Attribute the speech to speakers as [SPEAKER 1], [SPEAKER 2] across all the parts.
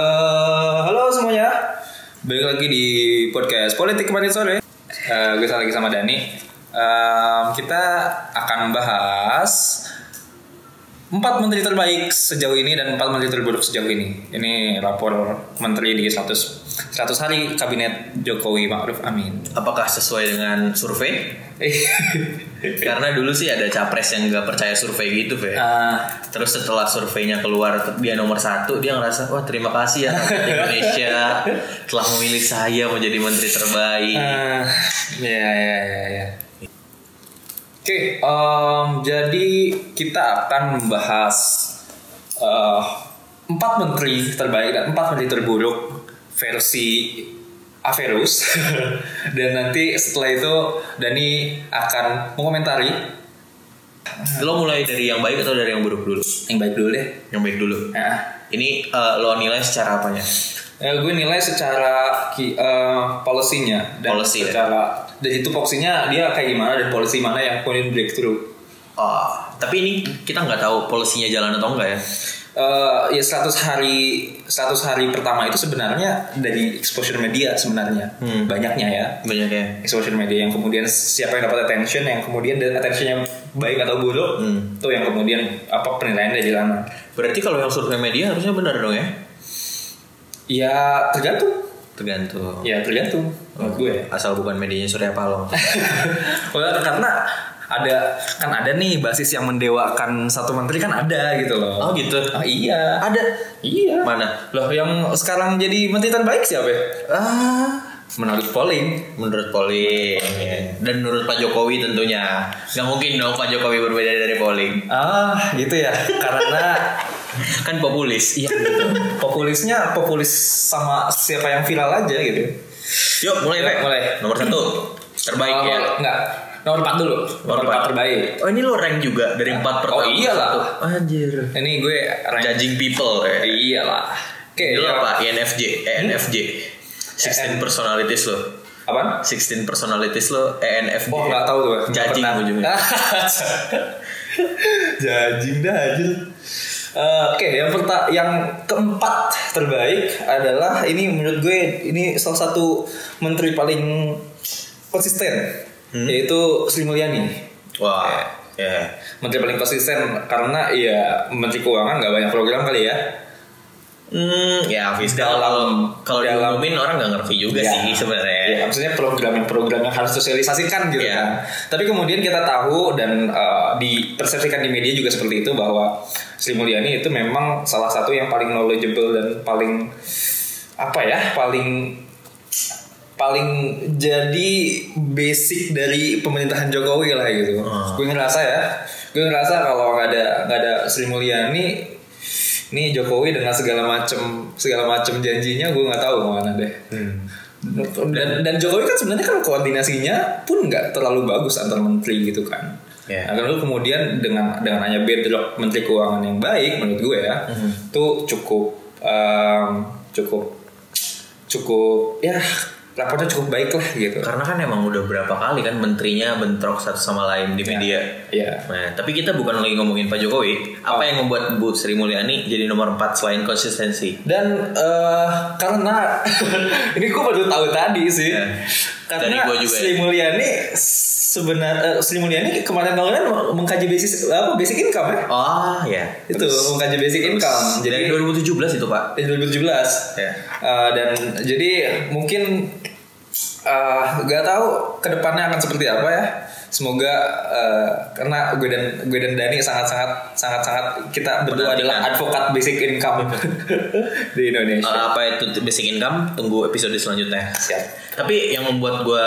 [SPEAKER 1] Eh, halo semuanya. Balik lagi di podcast Politik kemarin sore. Eh, gue lagi sama Dani. Em, kita akan membahas empat menteri terbaik sejauh ini dan empat menteri terburuk sejauh ini. Ini rapor menteri di 100 100 hari kabinet Jokowi Ma'ruf Amin.
[SPEAKER 2] Apakah sesuai dengan survei?
[SPEAKER 1] Iya.
[SPEAKER 2] Karena dulu sih ada capres yang nggak percaya survei gitu, Fe.
[SPEAKER 1] Eh,
[SPEAKER 2] Terus setelah surveinya keluar dia nomor satu, dia ngerasa wah terima kasih ya rakyat Indonesia telah memilih saya menjadi menteri terbaik.
[SPEAKER 1] Ah, ya ya ya ya. Oke, em, jadi kita akan membahas eh, empat menteri terbaik dan empat menteri terburuk versi Averus dan nanti setelah itu Dani akan mengomentari
[SPEAKER 2] Lo mulai dari yang baik atau dari yang buruk dulu?
[SPEAKER 1] yang baik dulu deh.
[SPEAKER 2] Yang baik dulu.
[SPEAKER 1] Nah,
[SPEAKER 2] Ini eh, lo nilai secara apanya?
[SPEAKER 1] eh, gue nilai secara ki, eh, policy-nya dan
[SPEAKER 2] Policy, ya.
[SPEAKER 1] secara dan itu fokusnya dia kayak gimana dan policy mana yang kemudian breakthrough.
[SPEAKER 2] Oh, tapi ini kita nggak tahu polisinya jalan atau enggak ya.
[SPEAKER 1] Eh, ya 100 hari 100 hari pertama itu sebenarnya dari exposure media sebenarnya
[SPEAKER 2] Hmm.
[SPEAKER 1] banyaknya ya
[SPEAKER 2] Banyak ya.
[SPEAKER 1] exposure media yang kemudian siapa yang dapat attention yang kemudian dan attentionnya baik atau buruk
[SPEAKER 2] Hmm.
[SPEAKER 1] itu yang kemudian apa penilaian dari lama
[SPEAKER 2] Berarti kalau yang survei media harusnya benar dong ya?
[SPEAKER 1] ya tergantung
[SPEAKER 2] Tergantung.
[SPEAKER 1] ya tergantung
[SPEAKER 2] Hmm.
[SPEAKER 1] menurut gue ya.
[SPEAKER 2] Asal bukan medianya Surya Paloh.
[SPEAKER 1] Ah. Well, karena ada kan ada nih basis yang mendewakan satu menteri kan ada gitu loh
[SPEAKER 2] Oh gitu.
[SPEAKER 1] Ah, iya
[SPEAKER 2] Ada.
[SPEAKER 1] iya
[SPEAKER 2] Mana?
[SPEAKER 1] loh yang sekarang jadi menteri terbaik siapa ya?
[SPEAKER 2] Ah,
[SPEAKER 1] menurut polling
[SPEAKER 2] menurut polling dan menurut Pak Jokowi tentunya. Nggak mungkin dong Pak Jokowi berbeda dari polling.
[SPEAKER 1] Ah, gitu ya. Karena
[SPEAKER 2] Kan populis.
[SPEAKER 1] iya gitu. Populisnya populis sama siapa yang viral aja gitu.
[SPEAKER 2] Yuk, mulai, Pak.
[SPEAKER 1] Mulai.
[SPEAKER 2] Nomor satu. Terbaik
[SPEAKER 1] Kalau
[SPEAKER 2] ya.
[SPEAKER 1] enggak. Nomor 4 dulu. Nomor 4
[SPEAKER 2] Nomor
[SPEAKER 1] terbaik.
[SPEAKER 2] Oh, ini lo rank juga dari empat
[SPEAKER 1] Oh,
[SPEAKER 2] pertama.
[SPEAKER 1] iyalah.
[SPEAKER 2] Satu. Anjir.
[SPEAKER 1] Ini gue rank
[SPEAKER 2] Judging people ya.
[SPEAKER 1] iyalah. Oke,
[SPEAKER 2] Itu
[SPEAKER 1] ya.
[SPEAKER 2] apa? E ENFJ, ENFJ. 16 personalities lo.
[SPEAKER 1] Apaan?
[SPEAKER 2] 16 personalities lo E ENFJ.
[SPEAKER 1] Oh, enggak tahu tuh. nggak
[SPEAKER 2] Judging
[SPEAKER 1] pernah.
[SPEAKER 2] ujungnya.
[SPEAKER 1] Judging dah anjir. Eh, Oke, yang perta yang keempat terbaik adalah ini menurut gue ini salah satu menteri paling konsisten yaitu Sri Mulyani.
[SPEAKER 2] Wah. Ya.
[SPEAKER 1] Menteri paling konsisten karena ya Menteri Keuangan nggak banyak program kali ya.
[SPEAKER 2] Hmm, ya fiskal
[SPEAKER 1] Dalam-
[SPEAKER 2] kalau kalau
[SPEAKER 1] dalam-
[SPEAKER 2] diumumin orang nggak ngerti juga
[SPEAKER 1] Ya.
[SPEAKER 2] sih sebenarnya.
[SPEAKER 1] Ya, maksudnya program yang program yang harus sosialisasikan gitu
[SPEAKER 2] Iya.
[SPEAKER 1] kan. Tapi kemudian kita tahu dan eh, dipersepsikan di media juga seperti itu bahwa Sri Mulyani itu memang salah satu yang paling knowledgeable dan paling apa ya, paling paling jadi basic dari pemerintahan Jokowi lah gitu.
[SPEAKER 2] Hmm.
[SPEAKER 1] Gue ngerasa ya, gue ngerasa kalau nggak ada nggak ada Sri Mulyani ini Jokowi dengan segala macam segala macam janjinya gue nggak tahu kemana deh.
[SPEAKER 2] Hmm.
[SPEAKER 1] Dan, dan Jokowi kan sebenarnya kan koordinasinya pun nggak terlalu bagus antar menteri gitu kan.
[SPEAKER 2] Ya.
[SPEAKER 1] Nah, lalu kemudian dengan dengan hanya bedrock menteri keuangan yang baik menurut gue ya,
[SPEAKER 2] Mhm.
[SPEAKER 1] tuh cukup em, cukup cukup ya rapornya cukup baik lah gitu.
[SPEAKER 2] Karena kan emang udah berapa kali kan menterinya bentrok satu sama lain di media.
[SPEAKER 1] Ya.
[SPEAKER 2] Nah, tapi kita bukan lagi ngomongin Pak Jokowi. Apa yang membuat Bu Sri Mulyani jadi nomor 4 selain konsistensi?
[SPEAKER 1] Dan eh, karena ini gue baru tahu tadi sih.
[SPEAKER 2] Ya. Dari
[SPEAKER 1] Karena
[SPEAKER 2] gua juga ya.
[SPEAKER 1] Sri Mulyani sebenarnya Sri Mulyani kemarin-kemarin mengkaji basis apa basic income ya.
[SPEAKER 2] Oh, ya.
[SPEAKER 1] itu mengkaji basic income jadi
[SPEAKER 2] Jadi 2017 itu, Pak.
[SPEAKER 1] dari 2017
[SPEAKER 2] Ya.
[SPEAKER 1] Eh, dan jadi mungkin eh, nggak tahu kedepannya akan seperti apa ya semoga eh, karena gue dan gue dan Dani sangat sangat sangat sangat kita berdua
[SPEAKER 2] Menantikan.
[SPEAKER 1] adalah advokat basic income di Indonesia
[SPEAKER 2] Eh, apa itu basic income? Tunggu episode selanjutnya.
[SPEAKER 1] Siap.
[SPEAKER 2] Tapi yang membuat gue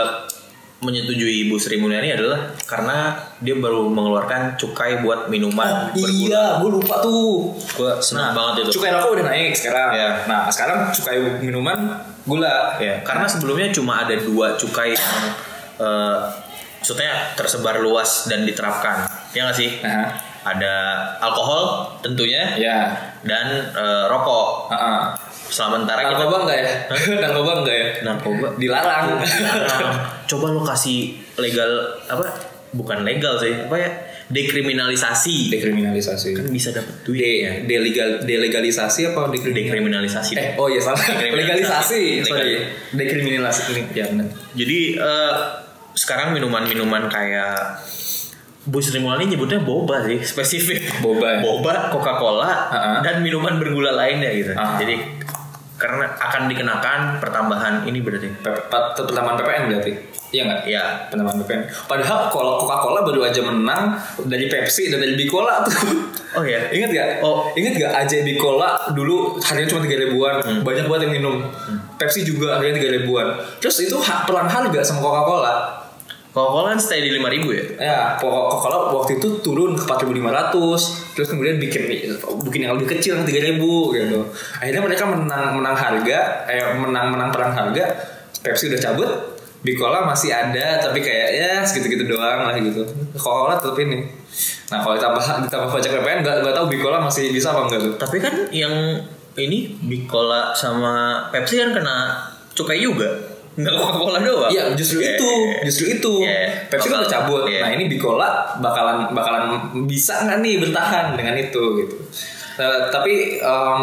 [SPEAKER 2] menyetujui Bu Sri Mulyani adalah karena dia baru mengeluarkan cukai buat minuman bergula.
[SPEAKER 1] iya gue lupa tuh
[SPEAKER 2] Gue senang banget itu.
[SPEAKER 1] cukai rokok udah naik sekarang
[SPEAKER 2] Iya.
[SPEAKER 1] nah sekarang cukai minuman gula
[SPEAKER 2] Ya, karena sebelumnya cuma ada dua cukai yang eh, maksudnya tersebar luas dan diterapkan. Ya nggak sih?
[SPEAKER 1] nah
[SPEAKER 2] Ada alkohol tentunya
[SPEAKER 1] ya
[SPEAKER 2] dan eh, rokok.
[SPEAKER 1] Ah, ah.
[SPEAKER 2] Selama mentara kita
[SPEAKER 1] narkoba enggak ya narkoba enggak ya
[SPEAKER 2] narkoba
[SPEAKER 1] dilarang
[SPEAKER 2] Nah, coba lo kasih legal apa bukan legal sih apa ya dekriminalisasi
[SPEAKER 1] dekriminalisasi
[SPEAKER 2] bisa dapat duit
[SPEAKER 1] de delegal delegalisasi apa dekriminalisasi
[SPEAKER 2] dekriminalisasi
[SPEAKER 1] eh oh iya salah legalisasi
[SPEAKER 2] Dekriminalisasi.
[SPEAKER 1] sorry dekriminalisasi ya benar
[SPEAKER 2] Jadi eh, sekarang minuman-minuman kayak Bu Sri Mulyani nyebutnya boba sih spesifik.
[SPEAKER 1] Boba.
[SPEAKER 2] Boba, Coca-Cola
[SPEAKER 1] Ha-ha.
[SPEAKER 2] dan minuman bergula lainnya gitu.
[SPEAKER 1] Ah.
[SPEAKER 2] Jadi karena akan dikenakan pertambahan ini berarti.
[SPEAKER 1] Pe- pe- pertambahan PPN berarti iya nggak
[SPEAKER 2] Ya,
[SPEAKER 1] pertambahan PPN padahal kalau Coca-Cola baru aja menang dari Pepsi dan dari Bicola tuh
[SPEAKER 2] oh ya.
[SPEAKER 1] Ingat gak?
[SPEAKER 2] Oh.
[SPEAKER 1] ingat gak AJ Bicola dulu harganya cuma tiga ribuan,
[SPEAKER 2] Hmm.
[SPEAKER 1] banyak banget yang minum. Pepsi juga harganya tiga ribuan. Terus itu ha- perang harga sama Coca-Cola.
[SPEAKER 2] Coca-Cola kan stay di 5000 ya.
[SPEAKER 1] Ya, Coca- Coca-Cola waktu itu turun ke 4.500, terus kemudian bikin bikin yang lebih kecil yang 3.000 gitu. Akhirnya mereka menang menang harga, eh menang menang perang harga. Pepsi udah cabut, Bicola masih ada tapi kayak ya segitu-gitu doang lah gitu. Coca-Cola tetap ini. Nah kalau ditambah ditambah pajak PPN nggak nggak tahu Bicola masih bisa apa enggak tuh.
[SPEAKER 2] Tapi kan yang ini Bicola sama Pepsi kan kena cukai juga. Nggak Coca-Cola doang.
[SPEAKER 1] Iya, justru
[SPEAKER 2] Iya,
[SPEAKER 1] itu,
[SPEAKER 2] iya, iya.
[SPEAKER 1] justru itu.
[SPEAKER 2] Iya.
[SPEAKER 1] Pepsi kan
[SPEAKER 2] Bakal-
[SPEAKER 1] udah cabut.
[SPEAKER 2] iya.
[SPEAKER 1] Nah, ini Bicola bakalan bakalan bisa nggak nih bertahan dengan itu gitu. Nah, tapi em,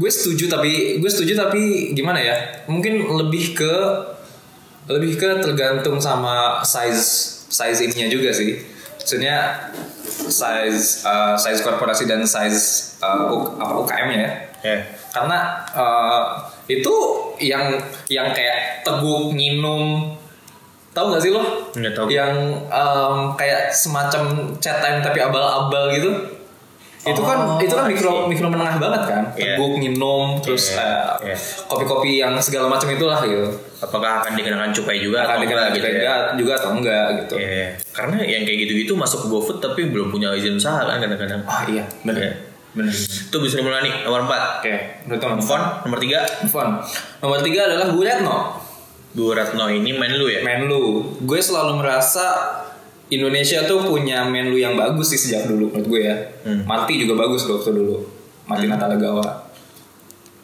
[SPEAKER 1] gue setuju tapi gue setuju tapi gimana ya? Mungkin lebih ke lebih ke tergantung sama size size ininya juga sih. Maksudnya size eh, size korporasi dan size eh, U- apa UKM-nya ya
[SPEAKER 2] Iya.
[SPEAKER 1] karena eh, itu yang yang kayak teguk minum tahu nggak sih lo
[SPEAKER 2] Nggak tahu.
[SPEAKER 1] yang em, kayak semacam chat time tapi abal-abal gitu itu kan
[SPEAKER 2] Oh,
[SPEAKER 1] itu kan
[SPEAKER 2] I
[SPEAKER 1] mikro
[SPEAKER 2] see.
[SPEAKER 1] mikro menengah banget kan
[SPEAKER 2] Iya.
[SPEAKER 1] teguk minum terus
[SPEAKER 2] Iya,
[SPEAKER 1] eh,
[SPEAKER 2] iya.
[SPEAKER 1] kopi-kopi yang segala macam itulah gitu
[SPEAKER 2] Apakah akan dikenakan cukai
[SPEAKER 1] akan
[SPEAKER 2] juga atau enggak
[SPEAKER 1] dikenakan
[SPEAKER 2] gitu ya?
[SPEAKER 1] juga, juga atau enggak gitu
[SPEAKER 2] Iya, iya. karena yang kayak gitu-gitu masuk ke GoFood tapi belum punya izin usaha kan kadang-kadang.
[SPEAKER 1] ah iya benar
[SPEAKER 2] Iya.
[SPEAKER 1] benar
[SPEAKER 2] Itu bisa mulai nih nomor 4.
[SPEAKER 1] oke menurut lo nomor
[SPEAKER 2] Fon nomor 3
[SPEAKER 1] Fon. nomor tiga adalah Bu Retno
[SPEAKER 2] Bu Ratno ini main lu ya.
[SPEAKER 1] Menlu, gue selalu merasa Indonesia tuh punya Menlu yang bagus sih sejak dulu menurut gue ya.
[SPEAKER 2] Hmm.
[SPEAKER 1] Marti juga bagus loh waktu dulu. Marti Natalegawa.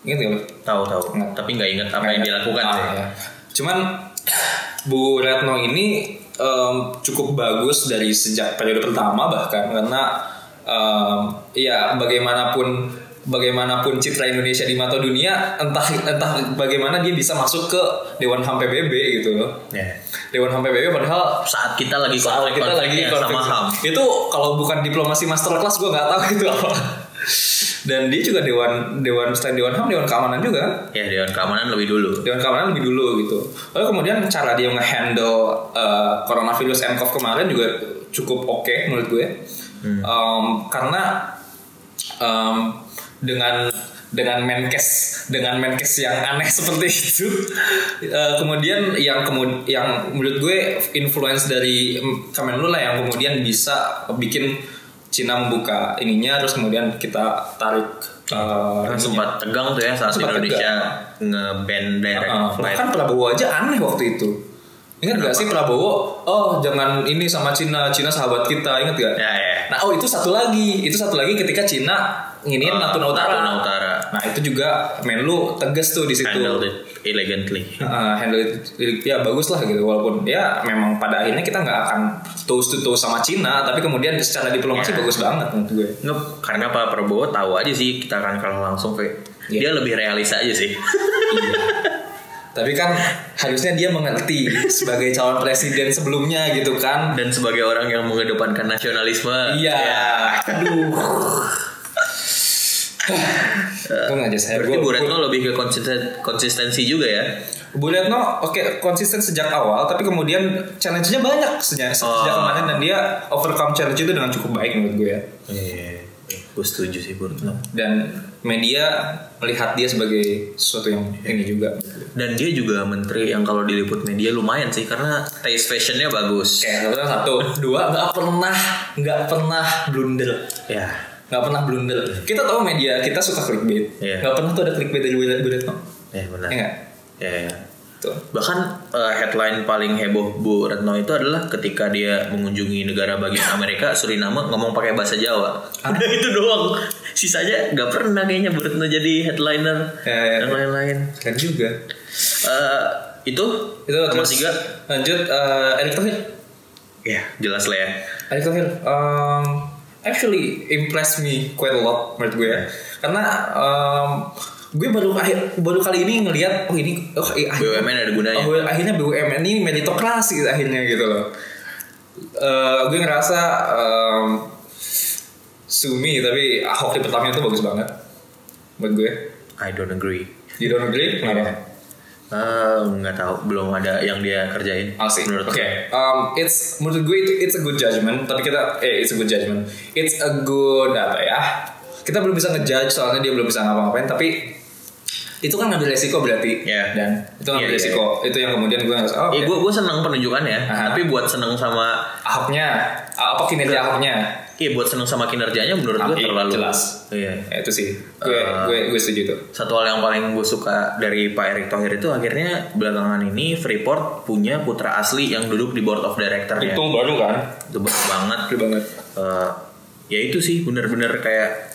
[SPEAKER 1] Ingat gak lo?
[SPEAKER 2] Tahu tahu.
[SPEAKER 1] Nggak.
[SPEAKER 2] Tapi nggak ingat apa yang dilakukan
[SPEAKER 1] Ah,
[SPEAKER 2] sih.
[SPEAKER 1] ya. Cuman Bu Retno ini em, cukup bagus dari sejak periode pertama bahkan karena em, ya bagaimanapun bagaimanapun citra Indonesia di mata dunia entah entah bagaimana dia bisa masuk ke Dewan HAM PBB gitu loh.
[SPEAKER 2] Ya.
[SPEAKER 1] Dewan HAM PBB padahal
[SPEAKER 2] Saat kita lagi konflik ya,
[SPEAKER 1] kita lagi
[SPEAKER 2] sama
[SPEAKER 1] konflik.
[SPEAKER 2] HAM.
[SPEAKER 1] Itu kalau bukan diplomasi masterclass gue nggak tahu itu apa. Dan dia juga dewan dewan selain dewan HAM dewan keamanan juga. kan?
[SPEAKER 2] Ya Dewan Keamanan lebih dulu.
[SPEAKER 1] Dewan keamanan lebih dulu gitu. Lalu kemudian cara dia ngehandle uh, coronavirus MCOV kemarin juga cukup oke menurut gue. Um, karena um, dengan dengan menkes dengan menkes yang aneh seperti itu eh, kemudian yang kemud yang menurut gue influence dari mm, Kemenlu lah yang kemudian bisa bikin Cina membuka ininya terus kemudian kita tarik eh,
[SPEAKER 2] Kan
[SPEAKER 1] ininya.
[SPEAKER 2] sempat tegang tuh ya saat
[SPEAKER 1] Sempat
[SPEAKER 2] Indonesia nge-ban direct
[SPEAKER 1] Uh,
[SPEAKER 2] flight.
[SPEAKER 1] bahkan Prabowo aja aneh waktu itu. Ingat gak sih Prabowo? Oh jangan ini sama Cina, Cina sahabat kita. Ingat gak?
[SPEAKER 2] Ya ya.
[SPEAKER 1] Nah oh itu satu lagi, itu satu lagi ketika Cina nginin
[SPEAKER 2] Eh,
[SPEAKER 1] Natuna Utara. Gitu.
[SPEAKER 2] Natuna Utara.
[SPEAKER 1] Nah itu juga Menlu tegas tuh di situ.
[SPEAKER 2] Handled it elegantly.
[SPEAKER 1] Uh, handle it, ya bagus lah gitu walaupun ya memang pada akhirnya kita nggak akan toast to toast sama Cina tapi kemudian secara diplomasi
[SPEAKER 2] Ya.
[SPEAKER 1] bagus banget menurut gue
[SPEAKER 2] Nggak, karena Pak Prabowo tahu aja sih kita akan kalah langsung kayak
[SPEAKER 1] Iya.
[SPEAKER 2] dia lebih realis aja sih.
[SPEAKER 1] tapi kan harusnya dia mengerti sebagai calon presiden sebelumnya gitu kan
[SPEAKER 2] Dan sebagai orang yang mengedepankan nasionalisme,
[SPEAKER 1] Iya.
[SPEAKER 2] ya,
[SPEAKER 1] Aduh. Untung aja saya.
[SPEAKER 2] berarti Bu
[SPEAKER 1] Gua-
[SPEAKER 2] Retno lebih ke konsisten, konsistensi juga ya.
[SPEAKER 1] Bu Retno oke konsisten sejak awal tapi kemudian challenge-nya banyak sejak sejak
[SPEAKER 2] Oh.
[SPEAKER 1] kemarin dan dia overcome challenge itu dengan cukup baik menurut gue ya.
[SPEAKER 2] Iya, gue setuju sih Bu Retno.
[SPEAKER 1] Dan media melihat dia sebagai sesuatu yang ini juga.
[SPEAKER 2] Dan dia juga menteri yang kalau diliput media lumayan sih karena taste fashionnya bagus.
[SPEAKER 1] Oke, satu, satu, dua, nggak pernah, nggak pernah blunder.
[SPEAKER 2] Ya,
[SPEAKER 1] nggak pernah blunder. Kita tahu media kita suka clickbait.
[SPEAKER 2] Iya.
[SPEAKER 1] Nggak pernah tuh ada clickbait dari Bu Bu Retno.
[SPEAKER 2] ya benar.
[SPEAKER 1] Ya
[SPEAKER 2] Ya,
[SPEAKER 1] nggak?
[SPEAKER 2] ya.
[SPEAKER 1] Tuh.
[SPEAKER 2] Bahkan eh, headline paling heboh Bu Retno itu adalah ketika dia mengunjungi negara bagian Amerika Suriname ngomong pakai bahasa Jawa.
[SPEAKER 1] Ah.
[SPEAKER 2] Udah itu doang. Sisanya nggak pernah kayaknya Bu Retno jadi headliner
[SPEAKER 1] Ya, ya,
[SPEAKER 2] dan
[SPEAKER 1] ya.
[SPEAKER 2] lain-lain.
[SPEAKER 1] Keren juga.
[SPEAKER 2] Eh, itu
[SPEAKER 1] itu
[SPEAKER 2] nomor
[SPEAKER 1] terus
[SPEAKER 2] tiga
[SPEAKER 1] lanjut eh Erick Thohir
[SPEAKER 2] Ya, jelas lah ya.
[SPEAKER 1] Ari Kohir, um, actually impress me quite a lot menurut gue ya. Karena um, gue baru akhir baru kali ini ngelihat oh ini oh, i- akhir-
[SPEAKER 2] BUMN ada gunanya.
[SPEAKER 1] oh, akhirnya BUMN ini meritokrasi akhirnya gitu loh. Eh, gue ngerasa um, Sumi tapi Ahok di pertamanya itu bagus banget menurut gue.
[SPEAKER 2] I don't agree.
[SPEAKER 1] You don't agree? Kenapa?
[SPEAKER 2] Eh, nggak tahu, belum ada yang dia kerjain.
[SPEAKER 1] I'll see.
[SPEAKER 2] Menurut
[SPEAKER 1] Ah, Oke, um, it's menurut gue itu it's a good judgment. Tapi kita eh it's a good judgment. It's a good apa ya? Kita belum bisa ngejudge soalnya dia belum bisa ngapa-ngapain. Tapi itu kan ngambil resiko berarti.
[SPEAKER 2] Iya.
[SPEAKER 1] Dan itu ngambil
[SPEAKER 2] Iya, iya,
[SPEAKER 1] resiko. Itu yang kemudian gue harus oh
[SPEAKER 2] Eh,
[SPEAKER 1] okay.
[SPEAKER 2] gue gue seneng penunjukannya,
[SPEAKER 1] Aha.
[SPEAKER 2] tapi buat seneng sama
[SPEAKER 1] Ahoknya apa kinerja Ahoknya?
[SPEAKER 2] Iya buat seneng sama kinerjanya menurut gue
[SPEAKER 1] Tapi
[SPEAKER 2] terlalu
[SPEAKER 1] Ah, jelas.
[SPEAKER 2] Iya.
[SPEAKER 1] Ya, itu sih. Gue
[SPEAKER 2] Eh.
[SPEAKER 1] gue gue setuju tuh.
[SPEAKER 2] Satu hal yang paling gue suka dari Pak Erick Thohir itu akhirnya belakangan ini Freeport punya putra asli yang duduk di board of directornya.
[SPEAKER 1] Hitung baru kan?
[SPEAKER 2] Itu bagus banget.
[SPEAKER 1] Baru banget.
[SPEAKER 2] Eh, ya itu sih bener-bener kayak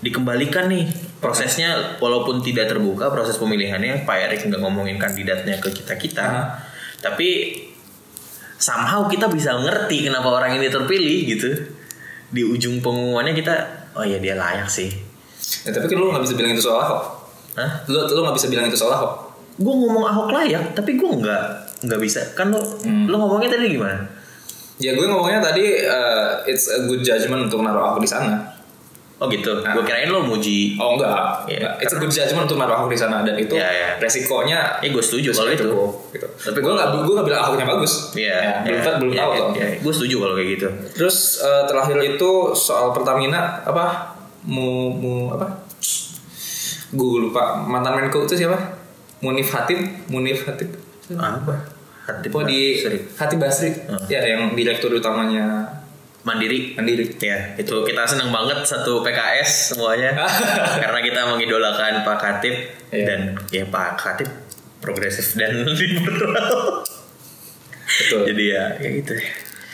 [SPEAKER 2] dikembalikan nih prosesnya walaupun tidak terbuka proses pemilihannya Pak Erick nggak ngomongin kandidatnya ke kita kita,
[SPEAKER 1] Aha.
[SPEAKER 2] tapi somehow kita bisa ngerti kenapa orang ini terpilih gitu. Di ujung pengumumannya kita, oh ya dia layak sih.
[SPEAKER 1] Ya, tapi kan lu nggak bisa bilang itu soal Ahok.
[SPEAKER 2] Hah?
[SPEAKER 1] Lu lu nggak bisa bilang itu soal Ahok.
[SPEAKER 2] Gue ngomong Ahok layak, tapi gue nggak nggak bisa. Kan lo
[SPEAKER 1] Hmm.
[SPEAKER 2] lo ngomongnya tadi gimana?
[SPEAKER 1] Ya gue ngomongnya tadi eh, it's a good judgment untuk naruh Ahok di sana.
[SPEAKER 2] Oh gitu.
[SPEAKER 1] Ah.
[SPEAKER 2] Gue kirain lo muji.
[SPEAKER 1] Oh enggak,
[SPEAKER 2] Iya.
[SPEAKER 1] enggak. It's a good judgment untuk naruh Ahok di sana dan itu
[SPEAKER 2] Iya, iya.
[SPEAKER 1] resikonya
[SPEAKER 2] Eh gue setuju kalau itu.
[SPEAKER 1] cukup, gitu.
[SPEAKER 2] Tapi
[SPEAKER 1] Tapi gue nggak gue nggak bilang Ahoknya bagus. Ya,
[SPEAKER 2] Iya.
[SPEAKER 1] belum belum tahu tuh.
[SPEAKER 2] Gue setuju kalau kayak gitu.
[SPEAKER 1] Terus eh, terakhir itu soal Pertamina apa mu mu apa? Gue lupa mantan Menko itu siapa? Munif Hatib, Munif Hatib.
[SPEAKER 2] Apa? Hati
[SPEAKER 1] Oh Hmm. di
[SPEAKER 2] Basri.
[SPEAKER 1] Hatib Basri.
[SPEAKER 2] Heeh.
[SPEAKER 1] Ya yang direktur utamanya
[SPEAKER 2] Mandiri.
[SPEAKER 1] Mandiri.
[SPEAKER 2] Ya, itu kita senang banget satu PKS semuanya karena kita mengidolakan Pak Katip
[SPEAKER 1] Iya.
[SPEAKER 2] dan ya Pak Katip progresif dan liberal.
[SPEAKER 1] Betul.
[SPEAKER 2] Jadi ya kayak gitu.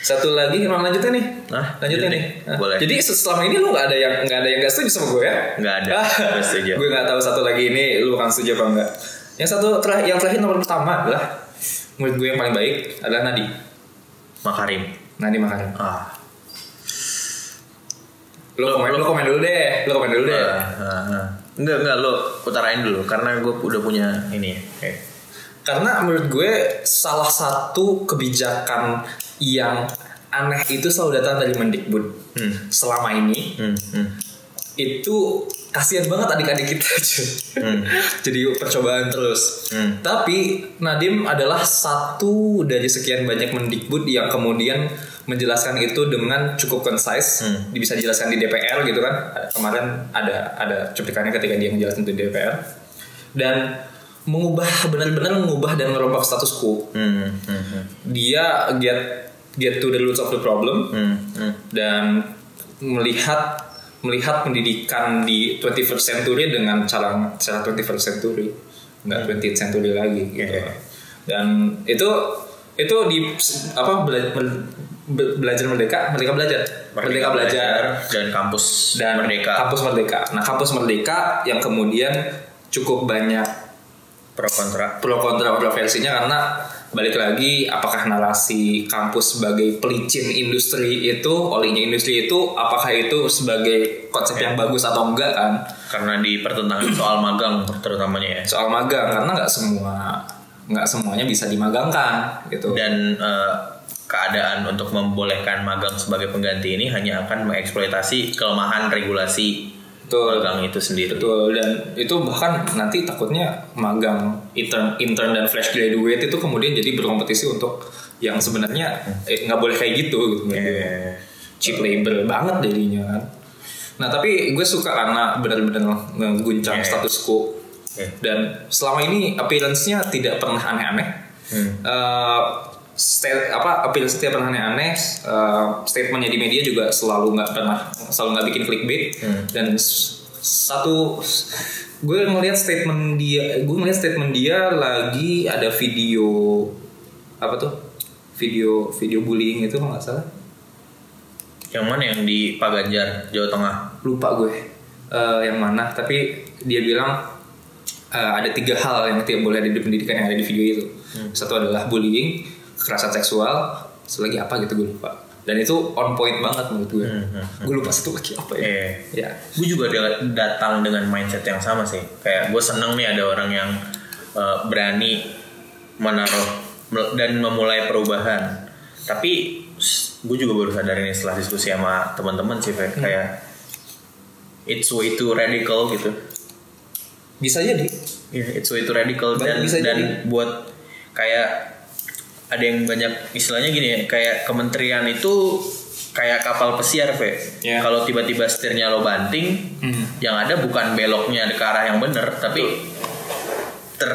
[SPEAKER 1] Satu lagi emang lanjutnya nih.
[SPEAKER 2] Nah,
[SPEAKER 1] lanjutnya nih. Nah,
[SPEAKER 2] Boleh.
[SPEAKER 1] Jadi selama ini lu nggak ada yang nggak ada yang nggak setuju sama gue ya?
[SPEAKER 2] Nggak ada. Nggak setuju.
[SPEAKER 1] gue nggak tahu satu lagi ini lu akan setuju apa enggak. Yang satu terakhir yang terakhir nomor pertama adalah menurut gue yang paling baik adalah Nadi.
[SPEAKER 2] Makarim.
[SPEAKER 1] Nadi Makarim.
[SPEAKER 2] Ah.
[SPEAKER 1] Lu komen, lu komen dulu deh. Lu komen dulu deh.
[SPEAKER 2] ah, ah, ah. Enggak, enggak lo utarain dulu karena gue udah punya ini ya. Eh,
[SPEAKER 1] Karena menurut gue salah satu kebijakan yang aneh itu selalu datang dari Mendikbud.
[SPEAKER 2] Hmm.
[SPEAKER 1] Selama ini
[SPEAKER 2] Hmm, hmm.
[SPEAKER 1] itu kasihan banget adik-adik kita cuy.
[SPEAKER 2] Hmm.
[SPEAKER 1] jadi percobaan terus
[SPEAKER 2] Hmm.
[SPEAKER 1] tapi Nadim adalah satu dari sekian banyak mendikbud yang kemudian menjelaskan itu dengan cukup concise
[SPEAKER 2] Hmm.
[SPEAKER 1] bisa dijelaskan di DPR gitu kan kemarin ada ada cuplikannya ketika dia menjelaskan di DPR dan mengubah benar-benar mengubah dan merombak status quo
[SPEAKER 2] Hmm, hmm, hmm,
[SPEAKER 1] dia get get to the roots of the problem
[SPEAKER 2] hmm, hmm.
[SPEAKER 1] dan melihat melihat pendidikan di 21st century dengan cara cara 21st century nggak 20th century lagi gitu
[SPEAKER 2] Hmm. Iya.
[SPEAKER 1] dan itu itu di apa bela- bel- be- belajar merdeka merdeka belajar merdeka, belajar,
[SPEAKER 2] dan kampus
[SPEAKER 1] dan
[SPEAKER 2] merdeka
[SPEAKER 1] kampus merdeka nah kampus merdeka yang kemudian cukup banyak
[SPEAKER 2] pro kontra
[SPEAKER 1] pro kontra kontroversinya karena balik lagi apakah narasi kampus sebagai pelicin industri itu olinya industri itu apakah itu sebagai konsep yang bagus atau enggak kan
[SPEAKER 2] karena di pertentangan soal magang terutamanya ya
[SPEAKER 1] soal magang karena nggak semua nggak semuanya bisa dimagangkan gitu
[SPEAKER 2] dan eh, keadaan untuk membolehkan magang sebagai pengganti ini hanya akan mengeksploitasi kelemahan regulasi
[SPEAKER 1] betul
[SPEAKER 2] magang itu sendiri
[SPEAKER 1] betul dan itu bahkan nanti takutnya magang intern intern dan fresh graduate itu kemudian jadi berkompetisi untuk yang sebenarnya eh, nggak boleh kayak gitu gitu
[SPEAKER 2] Eh,
[SPEAKER 1] cheap labor banget dirinya kan. Nah tapi gue suka karena benar-benar mengguncang
[SPEAKER 2] Iya, iya.
[SPEAKER 1] status quo
[SPEAKER 2] Iya.
[SPEAKER 1] dan selama ini appearance-nya tidak pernah aneh-aneh.
[SPEAKER 2] Hmm.
[SPEAKER 1] Eh, state- apa appearance tidak pernah aneh-aneh. eh, statementnya di media juga selalu nggak pernah selalu nggak bikin clickbait dan s- satu gue ngelihat statement dia gue ngelihat statement dia lagi ada video apa tuh video video bullying itu kalau nggak salah
[SPEAKER 2] yang mana yang di Pak Ganjar Jawa Tengah
[SPEAKER 1] lupa gue eh, yang mana tapi dia bilang eh, ada tiga hal yang tidak boleh ada di pendidikan yang ada di video itu satu adalah bullying kekerasan seksual selagi apa gitu gue lupa dan itu on point banget menurut gue gue lupa satu lagi apa ya
[SPEAKER 2] Eh,
[SPEAKER 1] ya
[SPEAKER 2] gue juga da- datang dengan mindset yang sama sih. Kayak gue seneng nih ada orang yang eh, berani menaruh mel- dan memulai perubahan. Tapi gue juga baru sadar ini setelah diskusi sama teman-teman sih Fe. kayak it's way too radical gitu.
[SPEAKER 1] bisa jadi
[SPEAKER 2] Ya, it's way too radical
[SPEAKER 1] Baik,
[SPEAKER 2] dan
[SPEAKER 1] bisa
[SPEAKER 2] dan
[SPEAKER 1] jadi.
[SPEAKER 2] buat kayak ada yang banyak istilahnya gini ya, kayak kementerian itu kayak kapal pesiar, Fe.
[SPEAKER 1] Ya.
[SPEAKER 2] Kalau tiba-tiba setirnya lo banting,
[SPEAKER 1] Hmm.
[SPEAKER 2] yang ada bukan beloknya ke arah yang bener, tapi ter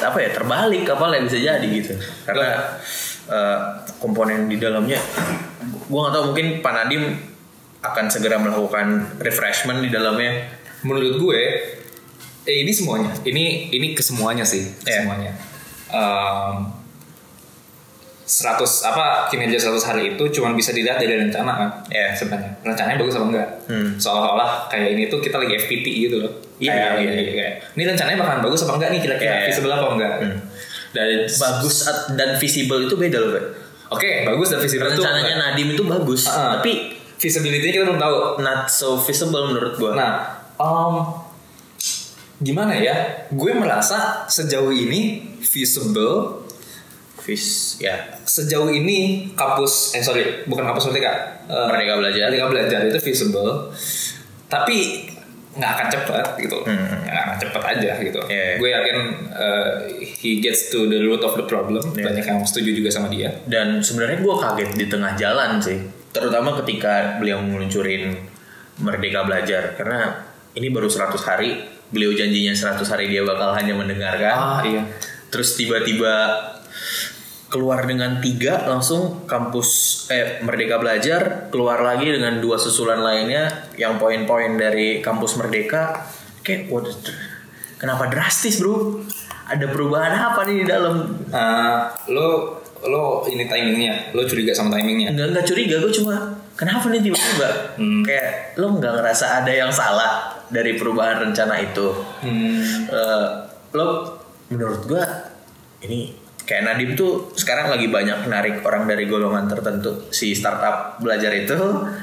[SPEAKER 2] apa ya terbalik kapalnya bisa jadi gitu karena eh, komponen di dalamnya gua nggak tahu mungkin Panadim akan segera melakukan refreshment di dalamnya
[SPEAKER 1] menurut gue eh ini semuanya ini ini kesemuanya sih
[SPEAKER 2] Iya.
[SPEAKER 1] kesemuanya Em, 100 apa kinerja 100 hari itu cuma bisa dilihat dari rencana kan
[SPEAKER 2] Iya.
[SPEAKER 1] sebenarnya rencananya bagus apa enggak
[SPEAKER 2] Hmm.
[SPEAKER 1] seolah-olah kayak ini tuh kita lagi FPT gitu loh
[SPEAKER 2] Iya,
[SPEAKER 1] Kayak-
[SPEAKER 2] iya, iya.
[SPEAKER 1] kayak, ini rencananya bakalan bagus apa enggak nih kira-kira
[SPEAKER 2] Iya, iya.
[SPEAKER 1] visible apa enggak
[SPEAKER 2] Hmm.
[SPEAKER 1] dari
[SPEAKER 2] bagus at- dan visible itu beda loh Pak.
[SPEAKER 1] oke Eh, bagus dan visible itu
[SPEAKER 2] rencananya
[SPEAKER 1] enggak.
[SPEAKER 2] Nadim itu bagus
[SPEAKER 1] Ah, ah.
[SPEAKER 2] tapi
[SPEAKER 1] visibility-nya kita belum tahu
[SPEAKER 2] not so visible menurut gua
[SPEAKER 1] Nah, em, gimana ya? Gue merasa sejauh ini visible,
[SPEAKER 2] vis ya
[SPEAKER 1] sejauh ini kampus eh sorry bukan kampus merdeka, eh,
[SPEAKER 2] Merdeka Belajar.
[SPEAKER 1] merdeka belajar itu visible, tapi nggak akan cepat gitu,
[SPEAKER 2] Hmm.
[SPEAKER 1] nggak akan cepat aja gitu.
[SPEAKER 2] Iya, iya.
[SPEAKER 1] Gue yakin eh, he gets to the root of the problem.
[SPEAKER 2] Iya.
[SPEAKER 1] Banyak yang setuju juga sama dia.
[SPEAKER 2] dan sebenarnya gua kaget di tengah jalan sih terutama ketika beliau meluncurin Merdeka Belajar karena ini baru 100 hari beliau janjinya 100 hari dia bakal hanya mendengarkan
[SPEAKER 1] iya.
[SPEAKER 2] terus tiba-tiba keluar dengan tiga langsung kampus eh Merdeka Belajar keluar lagi dengan dua susulan lainnya yang poin-poin dari kampus Merdeka kayak waduh kenapa drastis bro ada perubahan apa nih di dalam
[SPEAKER 1] Nah, lo lo ini timingnya, lo curiga sama timingnya.
[SPEAKER 2] nggak nggak curiga gue cuma kenapa nih tiba-tiba
[SPEAKER 1] Hmm.
[SPEAKER 2] kayak lo nggak ngerasa ada yang salah dari perubahan rencana itu
[SPEAKER 1] Hmm.
[SPEAKER 2] Eh, lo menurut gua ini kayak Nadim tuh sekarang lagi banyak narik orang dari golongan tertentu si startup belajar itu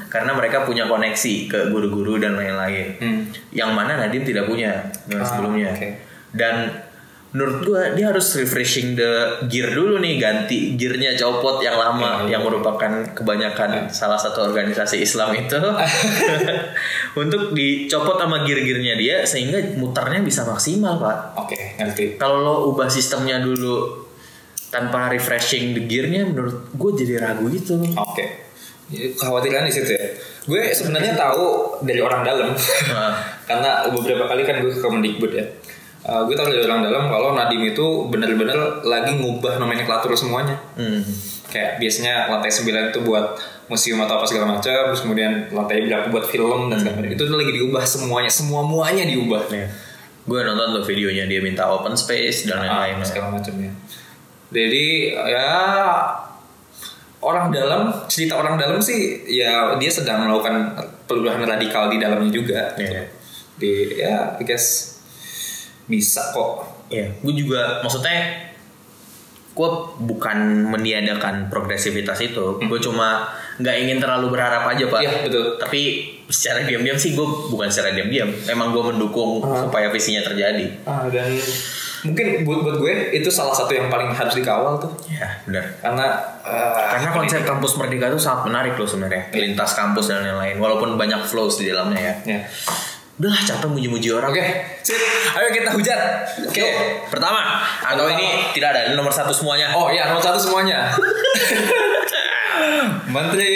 [SPEAKER 2] karena mereka punya koneksi ke guru-guru dan lain-lain
[SPEAKER 1] Hmm.
[SPEAKER 2] yang mana Nadim tidak punya dengan
[SPEAKER 1] Ah,
[SPEAKER 2] sebelumnya
[SPEAKER 1] oke.
[SPEAKER 2] dan menurut gua dia harus refreshing the gear dulu nih ganti gearnya copot yang
[SPEAKER 1] Iya,
[SPEAKER 2] lama yang merupakan kebanyakan salah satu organisasi Islam itu untuk dicopot sama gear-gearnya dia sehingga muternya bisa maksimal pak
[SPEAKER 1] hmm. Oke, ngerti.
[SPEAKER 2] kalau lo ubah sistemnya dulu tanpa refreshing the gearnya menurut gue jadi ragu gitu
[SPEAKER 1] Oke. Kekhawatiran di situ ya. Gue sebenarnya tahu dari orang dalam.
[SPEAKER 2] Ah.
[SPEAKER 1] Karena beberapa kali kan gue ke Kemendikbud ya. Eh, gue tahu dari orang dalam kalau Nadim itu bener-bener lagi ngubah nomenklatur semuanya.
[SPEAKER 2] hmm.
[SPEAKER 1] Kayak biasanya lantai 9 itu buat museum atau apa segala macam, terus kemudian lantai berapa buat film dan
[SPEAKER 2] Hmm.
[SPEAKER 1] segala macam. Itu lagi diubah semuanya, semua muanya diubah.
[SPEAKER 2] gue nonton tuh videonya dia minta open space dan
[SPEAKER 1] Ah,
[SPEAKER 2] lain-lain
[SPEAKER 1] segala macamnya. Jadi ya orang dalam cerita orang dalam sih ya dia sedang melakukan perubahan radikal di dalamnya juga. gitu.
[SPEAKER 2] Iya.
[SPEAKER 1] Di ya I guess bisa kok.
[SPEAKER 2] Iya, gue juga maksudnya gue bukan meniadakan progresivitas itu, gue cuma nggak ingin terlalu berharap aja pak.
[SPEAKER 1] Iya, betul.
[SPEAKER 2] Tapi secara diam-diam sih gue bukan secara diam-diam, emang gue mendukung supaya visinya terjadi.
[SPEAKER 1] dan mungkin buat buat gue itu salah satu yang paling harus dikawal tuh
[SPEAKER 2] Ya benar.
[SPEAKER 1] karena eh,
[SPEAKER 2] Karena konsep kampus merdeka itu sangat menarik loh sebenarnya, lintas kampus dan lain-lain, walaupun banyak flows di dalamnya ya.
[SPEAKER 1] ya.
[SPEAKER 2] Udah lah, capek muji-muji orang.
[SPEAKER 1] Oke, sip. Ayo kita hujat. Oke.
[SPEAKER 2] Yuk, pertama atau
[SPEAKER 1] Pertama.
[SPEAKER 2] ini tidak ada ini nomor satu semuanya.
[SPEAKER 1] Oh iya, nomor satu semuanya. Menteri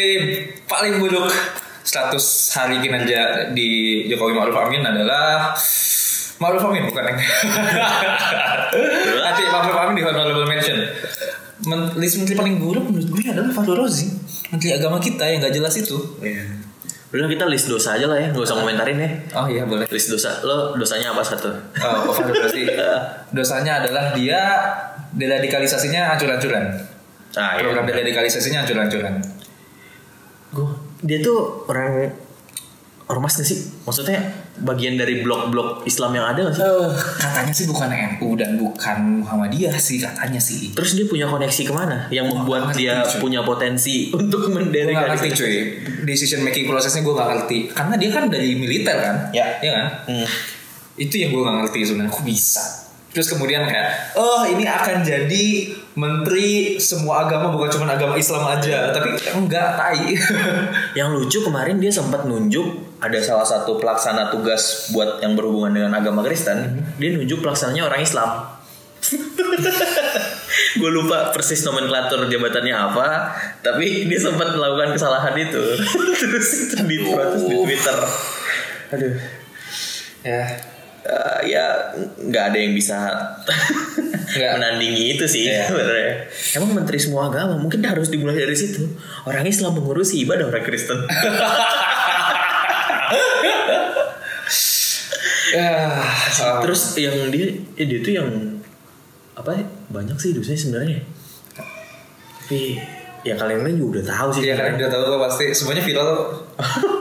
[SPEAKER 1] paling buruk status hari kinerja di Jokowi Ma'ruf Amin adalah Ma'ruf Amin bukan Neng. Nanti Ma'ruf Amin di honorable mention. Men list menteri paling buruk menurut gue adalah Fahru Rozi, menteri agama kita yang gak jelas itu.
[SPEAKER 2] Iya. Udah kita list dosa aja lah ya, nggak usah komentarin ya.
[SPEAKER 1] Oh iya boleh.
[SPEAKER 2] List dosa, lo dosanya apa satu?
[SPEAKER 1] Oh, Fahru Rozi. Dosanya adalah dia deradikalisasinya ancur-ancuran.
[SPEAKER 2] Nah, iya.
[SPEAKER 1] Program deradikalisasinya ancur-ancuran.
[SPEAKER 2] Gua- dia tuh orang ormas gak sih? Maksudnya bagian dari blok-blok Islam yang ada gak sih?
[SPEAKER 1] Eh, katanya sih bukan NU dan bukan Muhammadiyah sih katanya sih.
[SPEAKER 2] Terus dia punya koneksi kemana? Yang membuat
[SPEAKER 1] ngerti,
[SPEAKER 2] dia
[SPEAKER 1] cuy.
[SPEAKER 2] punya potensi untuk
[SPEAKER 1] Gue gak ngerti
[SPEAKER 2] mendelegasi.
[SPEAKER 1] cuy Decision making prosesnya gue gak ngerti Karena dia kan dari militer kan
[SPEAKER 2] Ya.
[SPEAKER 1] Iya kan
[SPEAKER 2] Hmm.
[SPEAKER 1] Itu yang gue gak ngerti sebenarnya Kok bisa Terus kemudian kayak Oh ini akan jadi Menteri semua agama Bukan cuma agama Islam aja Tapi enggak tai
[SPEAKER 2] Yang lucu kemarin dia sempat nunjuk ada salah satu pelaksana tugas buat yang berhubungan dengan agama
[SPEAKER 1] Mhm.
[SPEAKER 2] Kristen, dia nunjuk pelaksananya orang Islam. Gue lupa persis nomenklatur jabatannya apa, tapi dia sempat melakukan kesalahan itu. Terus itu diprotes di Twitter. Aduh.
[SPEAKER 1] Ya
[SPEAKER 2] Eh, ya nggak ada yang bisa
[SPEAKER 1] Nggak.
[SPEAKER 2] menandingi itu sih
[SPEAKER 1] Iya.
[SPEAKER 2] sebenarnya. Emang menteri semua agama mungkin harus dimulai dari situ. Orang Islam mengurusi ibadah orang Kristen.
[SPEAKER 1] Ya um,
[SPEAKER 2] Terus yang dia eh, dia tuh yang apa ya, banyak sih dosanya sebenarnya. Tapi ya Iya, kalian juga udah tahu sih.
[SPEAKER 1] Ya kan udah tau gue pasti Semuanya viral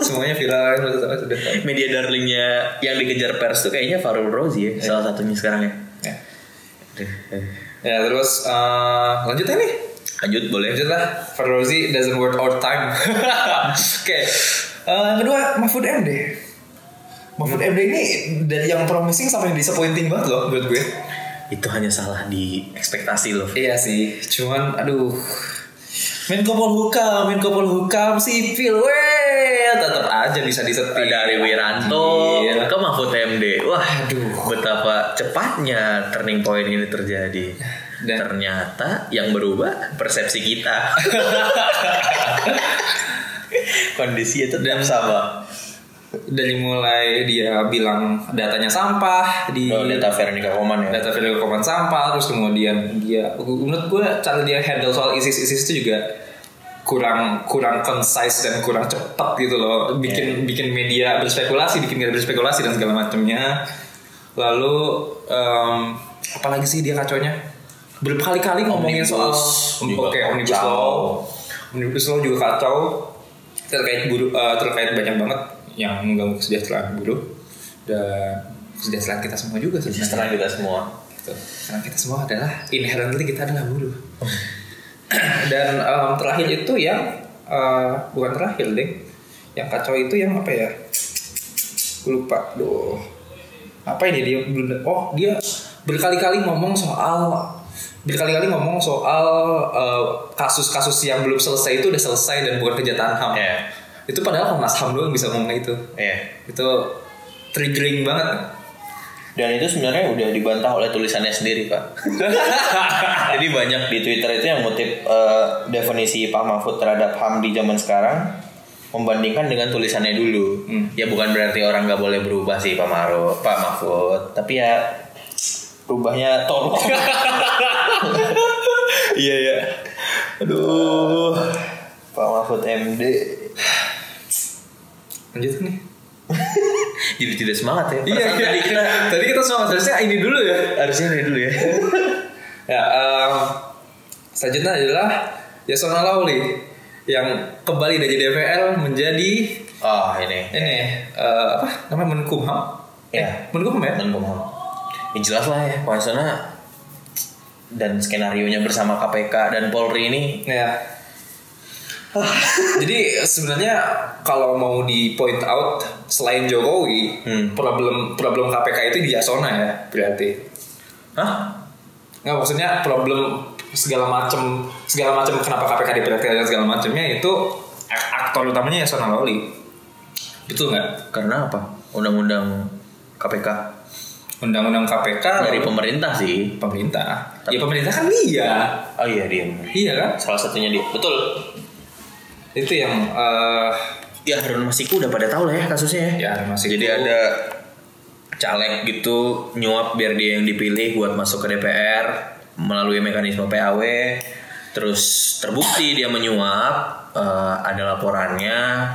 [SPEAKER 1] Semuanya viral ya, Udah tau, udah tau.
[SPEAKER 2] Eh, Media darlingnya yang dikejar pers tuh kayaknya Farul Rozi ya, salah satunya sekarang ya.
[SPEAKER 1] Ya.
[SPEAKER 2] Aduh, eh.
[SPEAKER 1] Ya terus eh, Lanjut ya nih
[SPEAKER 2] Lanjut boleh.
[SPEAKER 1] Lanjut lah, Farrozi doesn't worth our time. Oke, Eh, yang kedua Mahfud MD. Mahfud MD ini dari yang promising sampai yang disappointing banget loh menurut gue.
[SPEAKER 2] Itu hanya salah di ekspektasi loh.
[SPEAKER 1] Iya sih, cuman aduh. Menko Polhukam, Menko Polhukam sipil, weh, tetap aja bisa disetir.
[SPEAKER 2] dari Wiranto
[SPEAKER 1] Iya.
[SPEAKER 2] ke Mahfud MD. Wah,
[SPEAKER 1] Aduh.
[SPEAKER 2] betapa cepatnya turning point ini terjadi.
[SPEAKER 1] Dan-
[SPEAKER 2] Ternyata yang berubah persepsi kita. Kondisi itu tetap sama.
[SPEAKER 1] Dari mulai dia bilang datanya sampah di
[SPEAKER 2] Kalau data Veronica Koman ya.
[SPEAKER 1] data value komen sampah terus kemudian dia menurut gue cara dia handle soal isis isis itu juga kurang kurang concise dan kurang cepat gitu loh
[SPEAKER 2] Iya.
[SPEAKER 1] bikin bikin media berspekulasi bikin media berspekulasi dan segala macamnya lalu em, apalagi sih dia kaconya berkali-kali ngomongin soal
[SPEAKER 2] Omnibus juga
[SPEAKER 1] oke omnibus
[SPEAKER 2] kacau.
[SPEAKER 1] law omnibus law juga kacau terkait buruh eh, terkait banyak banget yang mengganggu kesejahteraan buruh dan kesejahteraan kita semua juga sebenarnya
[SPEAKER 2] Setelah kita semua.
[SPEAKER 1] gitu. Karena kita semua adalah inherently kita adalah buruh. Dan em, terakhir itu yang eh, bukan terakhir deh, yang kacau itu yang apa ya? Gue lupa, doh. Apa ini dia? Oh dia berkali-kali ngomong soal berkali-kali ngomong soal eh, kasus-kasus yang belum selesai itu udah selesai dan bukan kejahatan ham.
[SPEAKER 2] Ya.
[SPEAKER 1] Itu padahal Komnas Ham doang bisa ngomong itu.
[SPEAKER 2] Ya.
[SPEAKER 1] Itu triggering banget.
[SPEAKER 2] Dan itu sebenarnya udah dibantah oleh tulisannya sendiri, Pak. Jadi banyak di Twitter itu yang ngutip eh, definisi Pak Mahfud terhadap HAM di zaman sekarang membandingkan dengan tulisannya dulu.
[SPEAKER 1] Hmm.
[SPEAKER 2] Ya bukan berarti orang nggak boleh berubah sih Pak Maru, Pak Mahfud, tapi ya berubahnya tolong. Iya ya. Aduh. Pak Mahfud MD
[SPEAKER 1] Lanjut nih.
[SPEAKER 2] jadi tidak semangat ya.
[SPEAKER 1] Iya,
[SPEAKER 2] Perasaan
[SPEAKER 1] iya.
[SPEAKER 2] tadi kita
[SPEAKER 1] tadi kita semua harusnya ini dulu ya.
[SPEAKER 2] harusnya dari dulu ya.
[SPEAKER 1] Ya, em, selanjutnya adalah Yasona Lawli yang kembali dari DPR menjadi
[SPEAKER 2] Ah ini.
[SPEAKER 1] ini eh, apa namanya Menkumham?
[SPEAKER 2] Ya.
[SPEAKER 1] Menkumham ya?
[SPEAKER 2] Menkumham. Ya jelas lah ya, Pansona dan skenario nya bersama KPK dan Polri ini
[SPEAKER 1] Ya. Jadi sebenarnya kalau mau di point out selain Jokowi,
[SPEAKER 2] Hmm.
[SPEAKER 1] problem problem KPK itu di Yasona ya berarti.
[SPEAKER 2] Hah?
[SPEAKER 1] Nggak maksudnya problem segala macam segala macam kenapa KPK diperhatikan dan segala macamnya itu ak- aktor utamanya ya Sona Lawli. Betul nggak?
[SPEAKER 2] Karena apa? Undang-undang KPK
[SPEAKER 1] Undang-undang KPK
[SPEAKER 2] dari pemerintah sih.
[SPEAKER 1] pemerintah. Ya pemerintah kan dia.
[SPEAKER 2] Oh iya dia.
[SPEAKER 1] Iya kan?
[SPEAKER 2] Salah satunya dia. Betul.
[SPEAKER 1] Itu yang eh,
[SPEAKER 2] Ya Harun Masiku udah pada tahu lah ya kasusnya ya.
[SPEAKER 1] ya masih
[SPEAKER 2] Jadi ada caleg gitu nyuap biar dia yang dipilih buat masuk ke DPR melalui mekanisme PAW. Terus terbukti dia menyuap, eh, ada laporannya.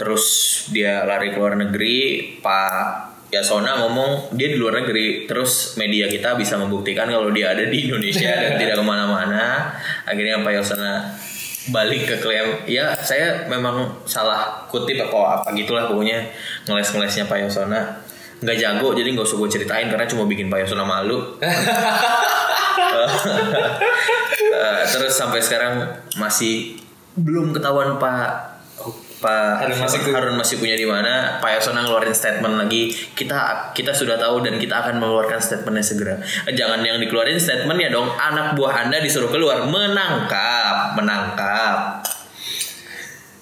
[SPEAKER 2] Terus dia lari ke luar negeri, Pak Yasona ngomong dia di luar negeri. Terus media kita bisa membuktikan kalau dia ada di Indonesia dan tidak kemana-mana. Akhirnya Pak Yasona balik ke klaim ya saya memang salah kutip apa apa gitulah pokoknya ngeles-ngelesnya Pak Yosona nggak jago jadi nggak usah gue ceritain karena cuma bikin Pak Yosona malu Eh, terus sampai sekarang masih belum ketahuan Pak Pak
[SPEAKER 1] Harun masih-
[SPEAKER 2] Harun masih punya di mana Pak Yasona ngeluarin statement lagi kita kita sudah tahu dan kita akan mengeluarkan statementnya segera Eh, jangan yang dikeluarin statement ya dong anak buah anda disuruh keluar menangkap menangkap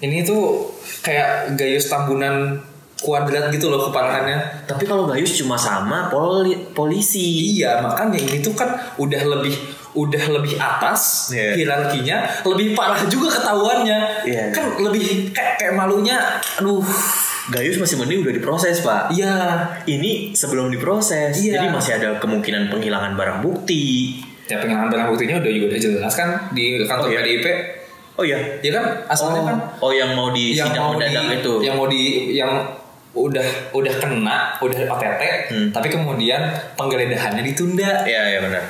[SPEAKER 1] Ini tuh kayak gayus tambunan kuadrat gitu loh keparahannya.
[SPEAKER 2] tapi kalau Gayus cuma sama poli- polisi
[SPEAKER 1] Iya, makanya ini tuh kan udah lebih udah lebih atas
[SPEAKER 2] Iya.
[SPEAKER 1] hierarkinya, lebih parah juga ketahuannya.
[SPEAKER 2] Iya.
[SPEAKER 1] Kan lebih kayak, kayak malunya, aduh.
[SPEAKER 2] Gayus masih mending udah diproses pak
[SPEAKER 1] Iya.
[SPEAKER 2] ini sebelum diproses
[SPEAKER 1] Iya.
[SPEAKER 2] jadi masih ada kemungkinan penghilangan barang bukti
[SPEAKER 1] Ya pengenalan barang buktinya udah juga udah jelas kan di kantor
[SPEAKER 2] Oh, iya.
[SPEAKER 1] PDIP.
[SPEAKER 2] oh iya
[SPEAKER 1] Ya kan asalnya
[SPEAKER 2] oh,
[SPEAKER 1] kan
[SPEAKER 2] oh yang mau di
[SPEAKER 1] yang
[SPEAKER 2] sidang
[SPEAKER 1] mau di
[SPEAKER 2] mendadak itu
[SPEAKER 1] yang mau di yang udah udah kena, udah OTT,
[SPEAKER 2] Hmm.
[SPEAKER 1] tapi kemudian penggeledahannya ditunda.
[SPEAKER 2] ya ya benar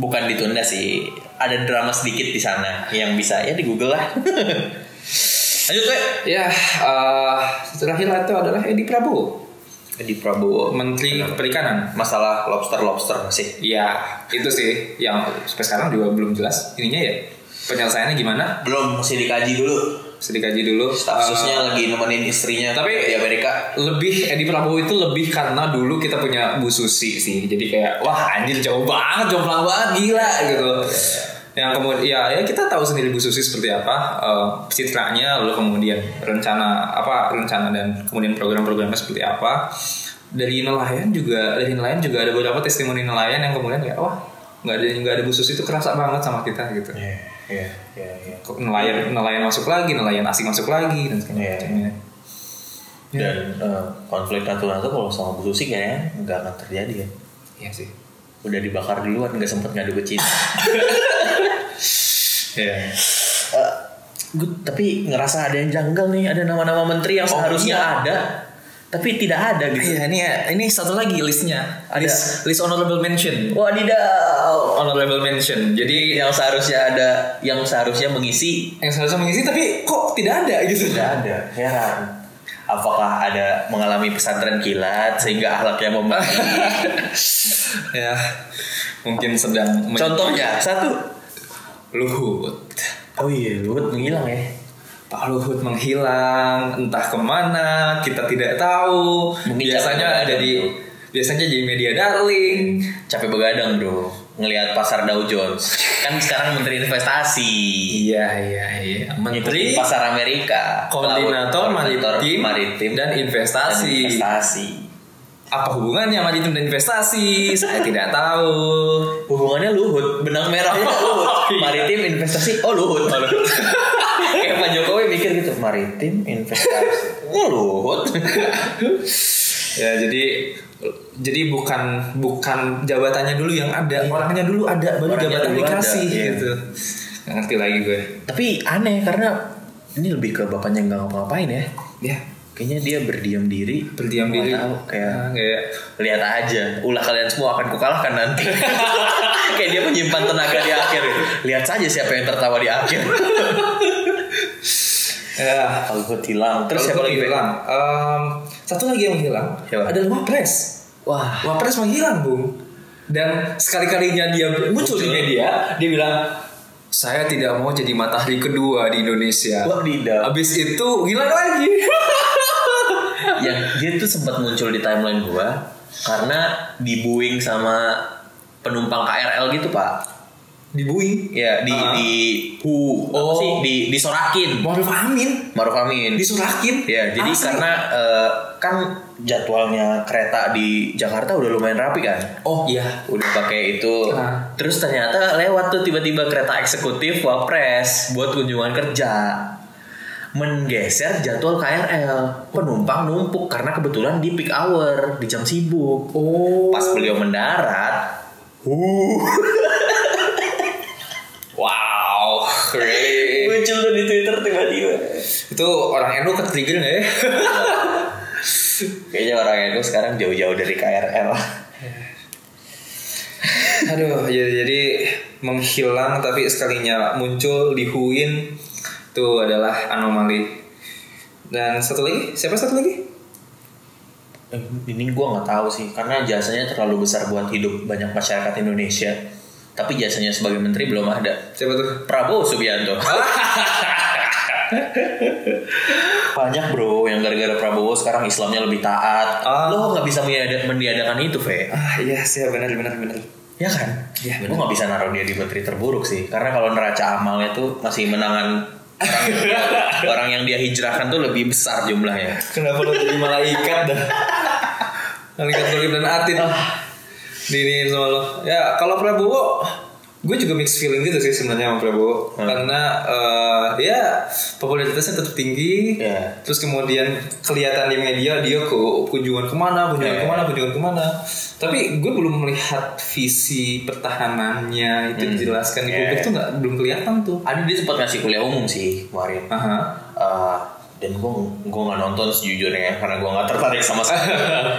[SPEAKER 2] bukan ditunda sih ada drama sedikit di sana yang bisa ya di Google lah lanjut Wek.
[SPEAKER 1] Ya, eh, terakhir itu adalah Edi Prabowo,
[SPEAKER 2] di Prabowo
[SPEAKER 1] Menteri Perikanan.
[SPEAKER 2] masalah lobster lobster masih
[SPEAKER 1] Ya, itu sih yang sampai sekarang juga belum jelas ininya ya. Penyelesaiannya gimana?
[SPEAKER 2] belum masih dikaji dulu
[SPEAKER 1] Sedikit aja dulu.
[SPEAKER 2] staff
[SPEAKER 1] Eh,
[SPEAKER 2] susnya lagi nemenin istrinya
[SPEAKER 1] tapi-
[SPEAKER 2] di Amerika
[SPEAKER 1] lebih Edi Prabowo itu lebih karena dulu kita punya Bu Susi sih. Jadi kayak wah anjir jauh banget, jomplang banget gila gitu. Yang kemudian ya, ya kita tahu sendiri Bu Susi seperti apa eh, citranya lalu kemudian rencana apa rencana dan kemudian program-programnya seperti apa. Dari nelayan juga dari nelayan juga ada beberapa testimoni nelayan yang kemudian kayak wah nggak ada nggak ada Bu Susi itu kerasa banget sama kita gitu.
[SPEAKER 2] Iya, iya, iya, iya.
[SPEAKER 1] Nelayan nelayan masuk lagi, nelayan asing masuk lagi dan segala
[SPEAKER 2] Iya.
[SPEAKER 1] macamnya. Iya.
[SPEAKER 2] dan eh, konflik Natuna tuh kalau sama Bu Susi kayaknya nggak akan terjadi ya
[SPEAKER 1] Iya sih.
[SPEAKER 2] udah dibakar duluan nggak sempet ngadu ke Cina
[SPEAKER 1] Iya.
[SPEAKER 2] Eh, gue tapi ngerasa ada yang janggal nih ada nama-nama menteri yang
[SPEAKER 1] Oh,
[SPEAKER 2] seharusnya
[SPEAKER 1] iya.
[SPEAKER 2] ada tapi tidak ada gitu
[SPEAKER 1] Iya ini ini satu lagi listnya
[SPEAKER 2] Ada.
[SPEAKER 1] list list honorable mention
[SPEAKER 2] wadidaw
[SPEAKER 1] honorable mention jadi
[SPEAKER 2] yang seharusnya ada yang seharusnya mengisi
[SPEAKER 1] Iya. yang seharusnya mengisi tapi kok tidak ada gitu
[SPEAKER 2] tidak ada heran apakah ada mengalami pesantren kilat sehingga akhlaknya membaik
[SPEAKER 1] ya mungkin sedang men-
[SPEAKER 2] contohnya satu
[SPEAKER 1] Luhut
[SPEAKER 2] oh iya Luhut menghilang ya
[SPEAKER 1] Pak Luhut menghilang entah kemana kita tidak tahu
[SPEAKER 2] Mungkin
[SPEAKER 1] biasanya
[SPEAKER 2] capek
[SPEAKER 1] ada di biasanya jadi media darling
[SPEAKER 2] capek begadang bro ngelihat pasar Dow Jones kan sekarang menteri investasi
[SPEAKER 1] iya iya iya
[SPEAKER 2] Menteri Pasar Amerika,
[SPEAKER 1] koordinator
[SPEAKER 2] Pelaut-
[SPEAKER 1] maritim,
[SPEAKER 2] maritim
[SPEAKER 1] dan investasi.
[SPEAKER 2] investasi.
[SPEAKER 1] apa hubungannya maritim dan investasi saya tidak tahu
[SPEAKER 2] Hubungannya Luhut, benang merahnya Luhut.
[SPEAKER 1] iya.
[SPEAKER 2] Maritim investasi, oh Luhut. Kayak Pak Jokowi mikir gitu, maritim investasi, oh Luhut.
[SPEAKER 1] ya jadi jadi bukan bukan jabatannya dulu yang ada orangnya dulu ada baru
[SPEAKER 2] Iya. Orangnya
[SPEAKER 1] jabatan
[SPEAKER 2] dulu
[SPEAKER 1] dikasih
[SPEAKER 2] ada, iya.
[SPEAKER 1] gitu nggak ngerti lagi gue
[SPEAKER 2] Tapi aneh karena ini lebih ke bapaknya nggak ngapa-ngapain ya.
[SPEAKER 1] ya
[SPEAKER 2] Kayaknya dia berdiam diri,
[SPEAKER 1] berdiam
[SPEAKER 2] Nggak
[SPEAKER 1] diri
[SPEAKER 2] tahu, kayak
[SPEAKER 1] Nah, kayak
[SPEAKER 2] lihat aja ulah kalian semua akan kukalahkan nanti kayak dia menyimpan tenaga di akhir lihat saja siapa yang tertawa di akhir
[SPEAKER 1] ya
[SPEAKER 2] Algot hilang
[SPEAKER 1] terus
[SPEAKER 2] terus siapa lagi
[SPEAKER 1] hilang Em, satu lagi yang hilang
[SPEAKER 2] Siapa?
[SPEAKER 1] adalah wapres
[SPEAKER 2] wah
[SPEAKER 1] wapres menghilang bung dan sekali-kalinya dia muncul di media dia bilang saya tidak mau jadi matahari kedua di Indonesia
[SPEAKER 2] wadidaw
[SPEAKER 1] Habis itu hilang lagi
[SPEAKER 2] yang ya, dia tuh sempat muncul di timeline gua karena dibuing sama penumpang KRL gitu pak
[SPEAKER 1] dibui
[SPEAKER 2] ya di
[SPEAKER 1] Ah.
[SPEAKER 2] di hu apa
[SPEAKER 1] Oh.
[SPEAKER 2] sih di disorakin
[SPEAKER 1] Maruf Amin
[SPEAKER 2] Maruf Amin
[SPEAKER 1] disurakin
[SPEAKER 2] Ya, jadi
[SPEAKER 1] Asli.
[SPEAKER 2] karena eh, kan jadwalnya kereta di Jakarta udah lumayan rapi kan.
[SPEAKER 1] Oh iya.
[SPEAKER 2] Udah pakai itu.
[SPEAKER 1] Ah.
[SPEAKER 2] Terus ternyata lewat tuh tiba-tiba kereta eksekutif Wapres buat kunjungan kerja. Menggeser jadwal KRL. Penumpang numpuk karena kebetulan di peak hour, di jam sibuk.
[SPEAKER 1] Oh.
[SPEAKER 2] Pas beliau mendarat, uh,
[SPEAKER 1] Wow, keren.
[SPEAKER 2] muncul tuh di Twitter tiba-tiba.
[SPEAKER 1] Itu orang NU ke trigger nggak ya?
[SPEAKER 2] Kayaknya orang itu sekarang jauh-jauh dari KRL.
[SPEAKER 1] Aduh, jadi, jadi menghilang tapi sekalinya muncul dihuin itu adalah anomali. Dan satu lagi, siapa satu lagi?
[SPEAKER 2] Eh, ini gue nggak tahu sih karena jasanya terlalu besar buat hidup banyak masyarakat Indonesia tapi jasanya sebagai menteri belum ada
[SPEAKER 1] Siapa tuh?
[SPEAKER 2] Prabowo Subianto banyak bro yang gara-gara Prabowo sekarang Islamnya lebih taat
[SPEAKER 1] Ah.
[SPEAKER 2] lo nggak bisa meniada- meniadakan itu Fe
[SPEAKER 1] Ah iya sih benar benar benar.
[SPEAKER 2] ya kan
[SPEAKER 1] Iya,
[SPEAKER 2] gue nggak bisa naruh dia di menteri terburuk sih karena kalau neraca amalnya tuh masih menangan orang yang, orang yang dia hijrahkan tuh lebih besar jumlahnya
[SPEAKER 1] Kenapa lo jadi malaikat dah? Malaikat Turib dan Atin.
[SPEAKER 2] Ah.
[SPEAKER 1] Diniin sama lo. Ya kalau Prabowo, gue juga mixed feeling gitu sih sebenarnya sama Prabowo.
[SPEAKER 2] Hmm.
[SPEAKER 1] Karena eh, ya popularitasnya tetap tinggi.
[SPEAKER 2] Iya.
[SPEAKER 1] Terus kemudian kelihatan di media dia ke kunjungan kemana, kunjungan
[SPEAKER 2] Iya.
[SPEAKER 1] kemana, kunjungan kemana. Tapi gue belum melihat visi pertahanannya itu
[SPEAKER 2] Hmm.
[SPEAKER 1] dijelaskan di
[SPEAKER 2] Iya.
[SPEAKER 1] publik tuh nggak belum kelihatan tuh.
[SPEAKER 2] ada dia sempat ngasih kuliah umum sih kemarin
[SPEAKER 1] Aha.
[SPEAKER 2] Eh, dan gue gue nggak nonton sejujurnya karena gue nggak tertarik sama sekali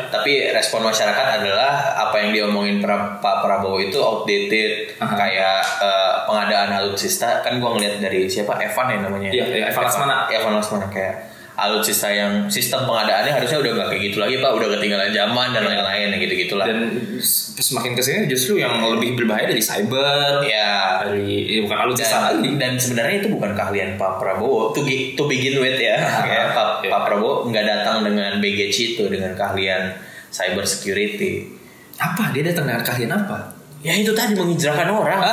[SPEAKER 2] tapi respon masyarakat adalah apa yang diomongin pra- Pak Prabowo itu outdated
[SPEAKER 1] Aha.
[SPEAKER 2] kayak eh, pengadaan alutsista kan gue ngeliat dari siapa Evan ya namanya
[SPEAKER 1] Iya, iya, Evan Lasmana.
[SPEAKER 2] Evan Lasmana kayak alutsista yang sistem pengadaannya harusnya udah nggak kayak gitu lagi pak udah ketinggalan zaman dan lain-lain gitu gitulah
[SPEAKER 1] dan s- semakin kesini justru yang lebih berbahaya dari cyber
[SPEAKER 2] ya
[SPEAKER 1] dari ya bukan alutsista
[SPEAKER 2] dan,
[SPEAKER 1] lagi
[SPEAKER 2] dan sebenarnya itu bukan keahlian Pak Prabowo to, gi- to begin with ya Kayak Pak,
[SPEAKER 1] Iya.
[SPEAKER 2] Pak Prabowo nggak datang dengan baggage itu dengan keahlian cyber security
[SPEAKER 1] apa dia datang dengan keahlian apa
[SPEAKER 2] ya itu tadi menghijrahkan orang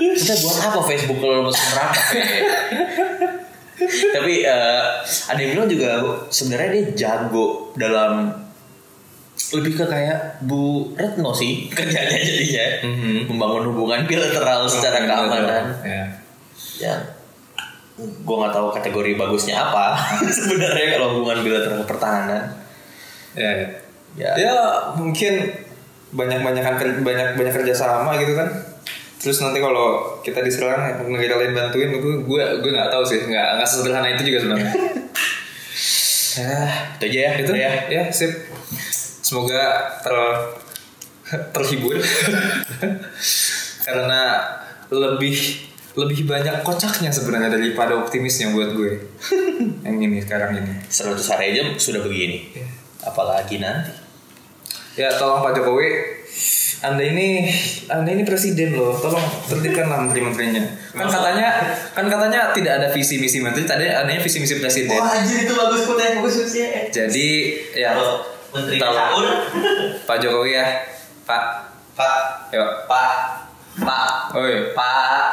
[SPEAKER 2] kita buat apa Facebook kalau masuk neraka Fe? tapi eh, ada yang bilang juga sebenarnya dia jago dalam lebih ke kayak Bu Retno sih kerjanya jadinya
[SPEAKER 1] Mhm.
[SPEAKER 2] membangun hubungan bilateral
[SPEAKER 1] Hmm,
[SPEAKER 2] secara keamanan
[SPEAKER 1] ya.
[SPEAKER 2] ya gue nggak tahu kategori bagusnya apa sebenarnya kalau hubungan bilateral pertahanan
[SPEAKER 1] Ya, ya.
[SPEAKER 2] ya,
[SPEAKER 1] Ya, mungkin banyak banyakan banyak banyak kerjasama gitu kan terus nanti kalau kita diserang negara lain bantuin gue gue gue nggak tahu sih nggak nggak sesederhana itu juga sebenarnya ya
[SPEAKER 2] itu aja ya
[SPEAKER 1] itu
[SPEAKER 2] ya
[SPEAKER 1] ya, ya sip semoga ter terhibur karena lebih lebih banyak kocaknya sebenarnya daripada optimisnya buat gue yang ini sekarang ini
[SPEAKER 2] 100 hari aja sudah begini apalagi nanti
[SPEAKER 1] ya tolong Pak Jokowi anda ini anda ini presiden loh tolong tertibkanlah menteri-menterinya kan katanya kan katanya tidak ada visi misi menteri tadi adanya visi misi presiden
[SPEAKER 2] anjir itu bagus kota yang bagus sih
[SPEAKER 1] jadi ya tolong. Pak Jokowi ya Pak
[SPEAKER 2] pak
[SPEAKER 1] yuk
[SPEAKER 2] pak pak
[SPEAKER 1] oi
[SPEAKER 2] pak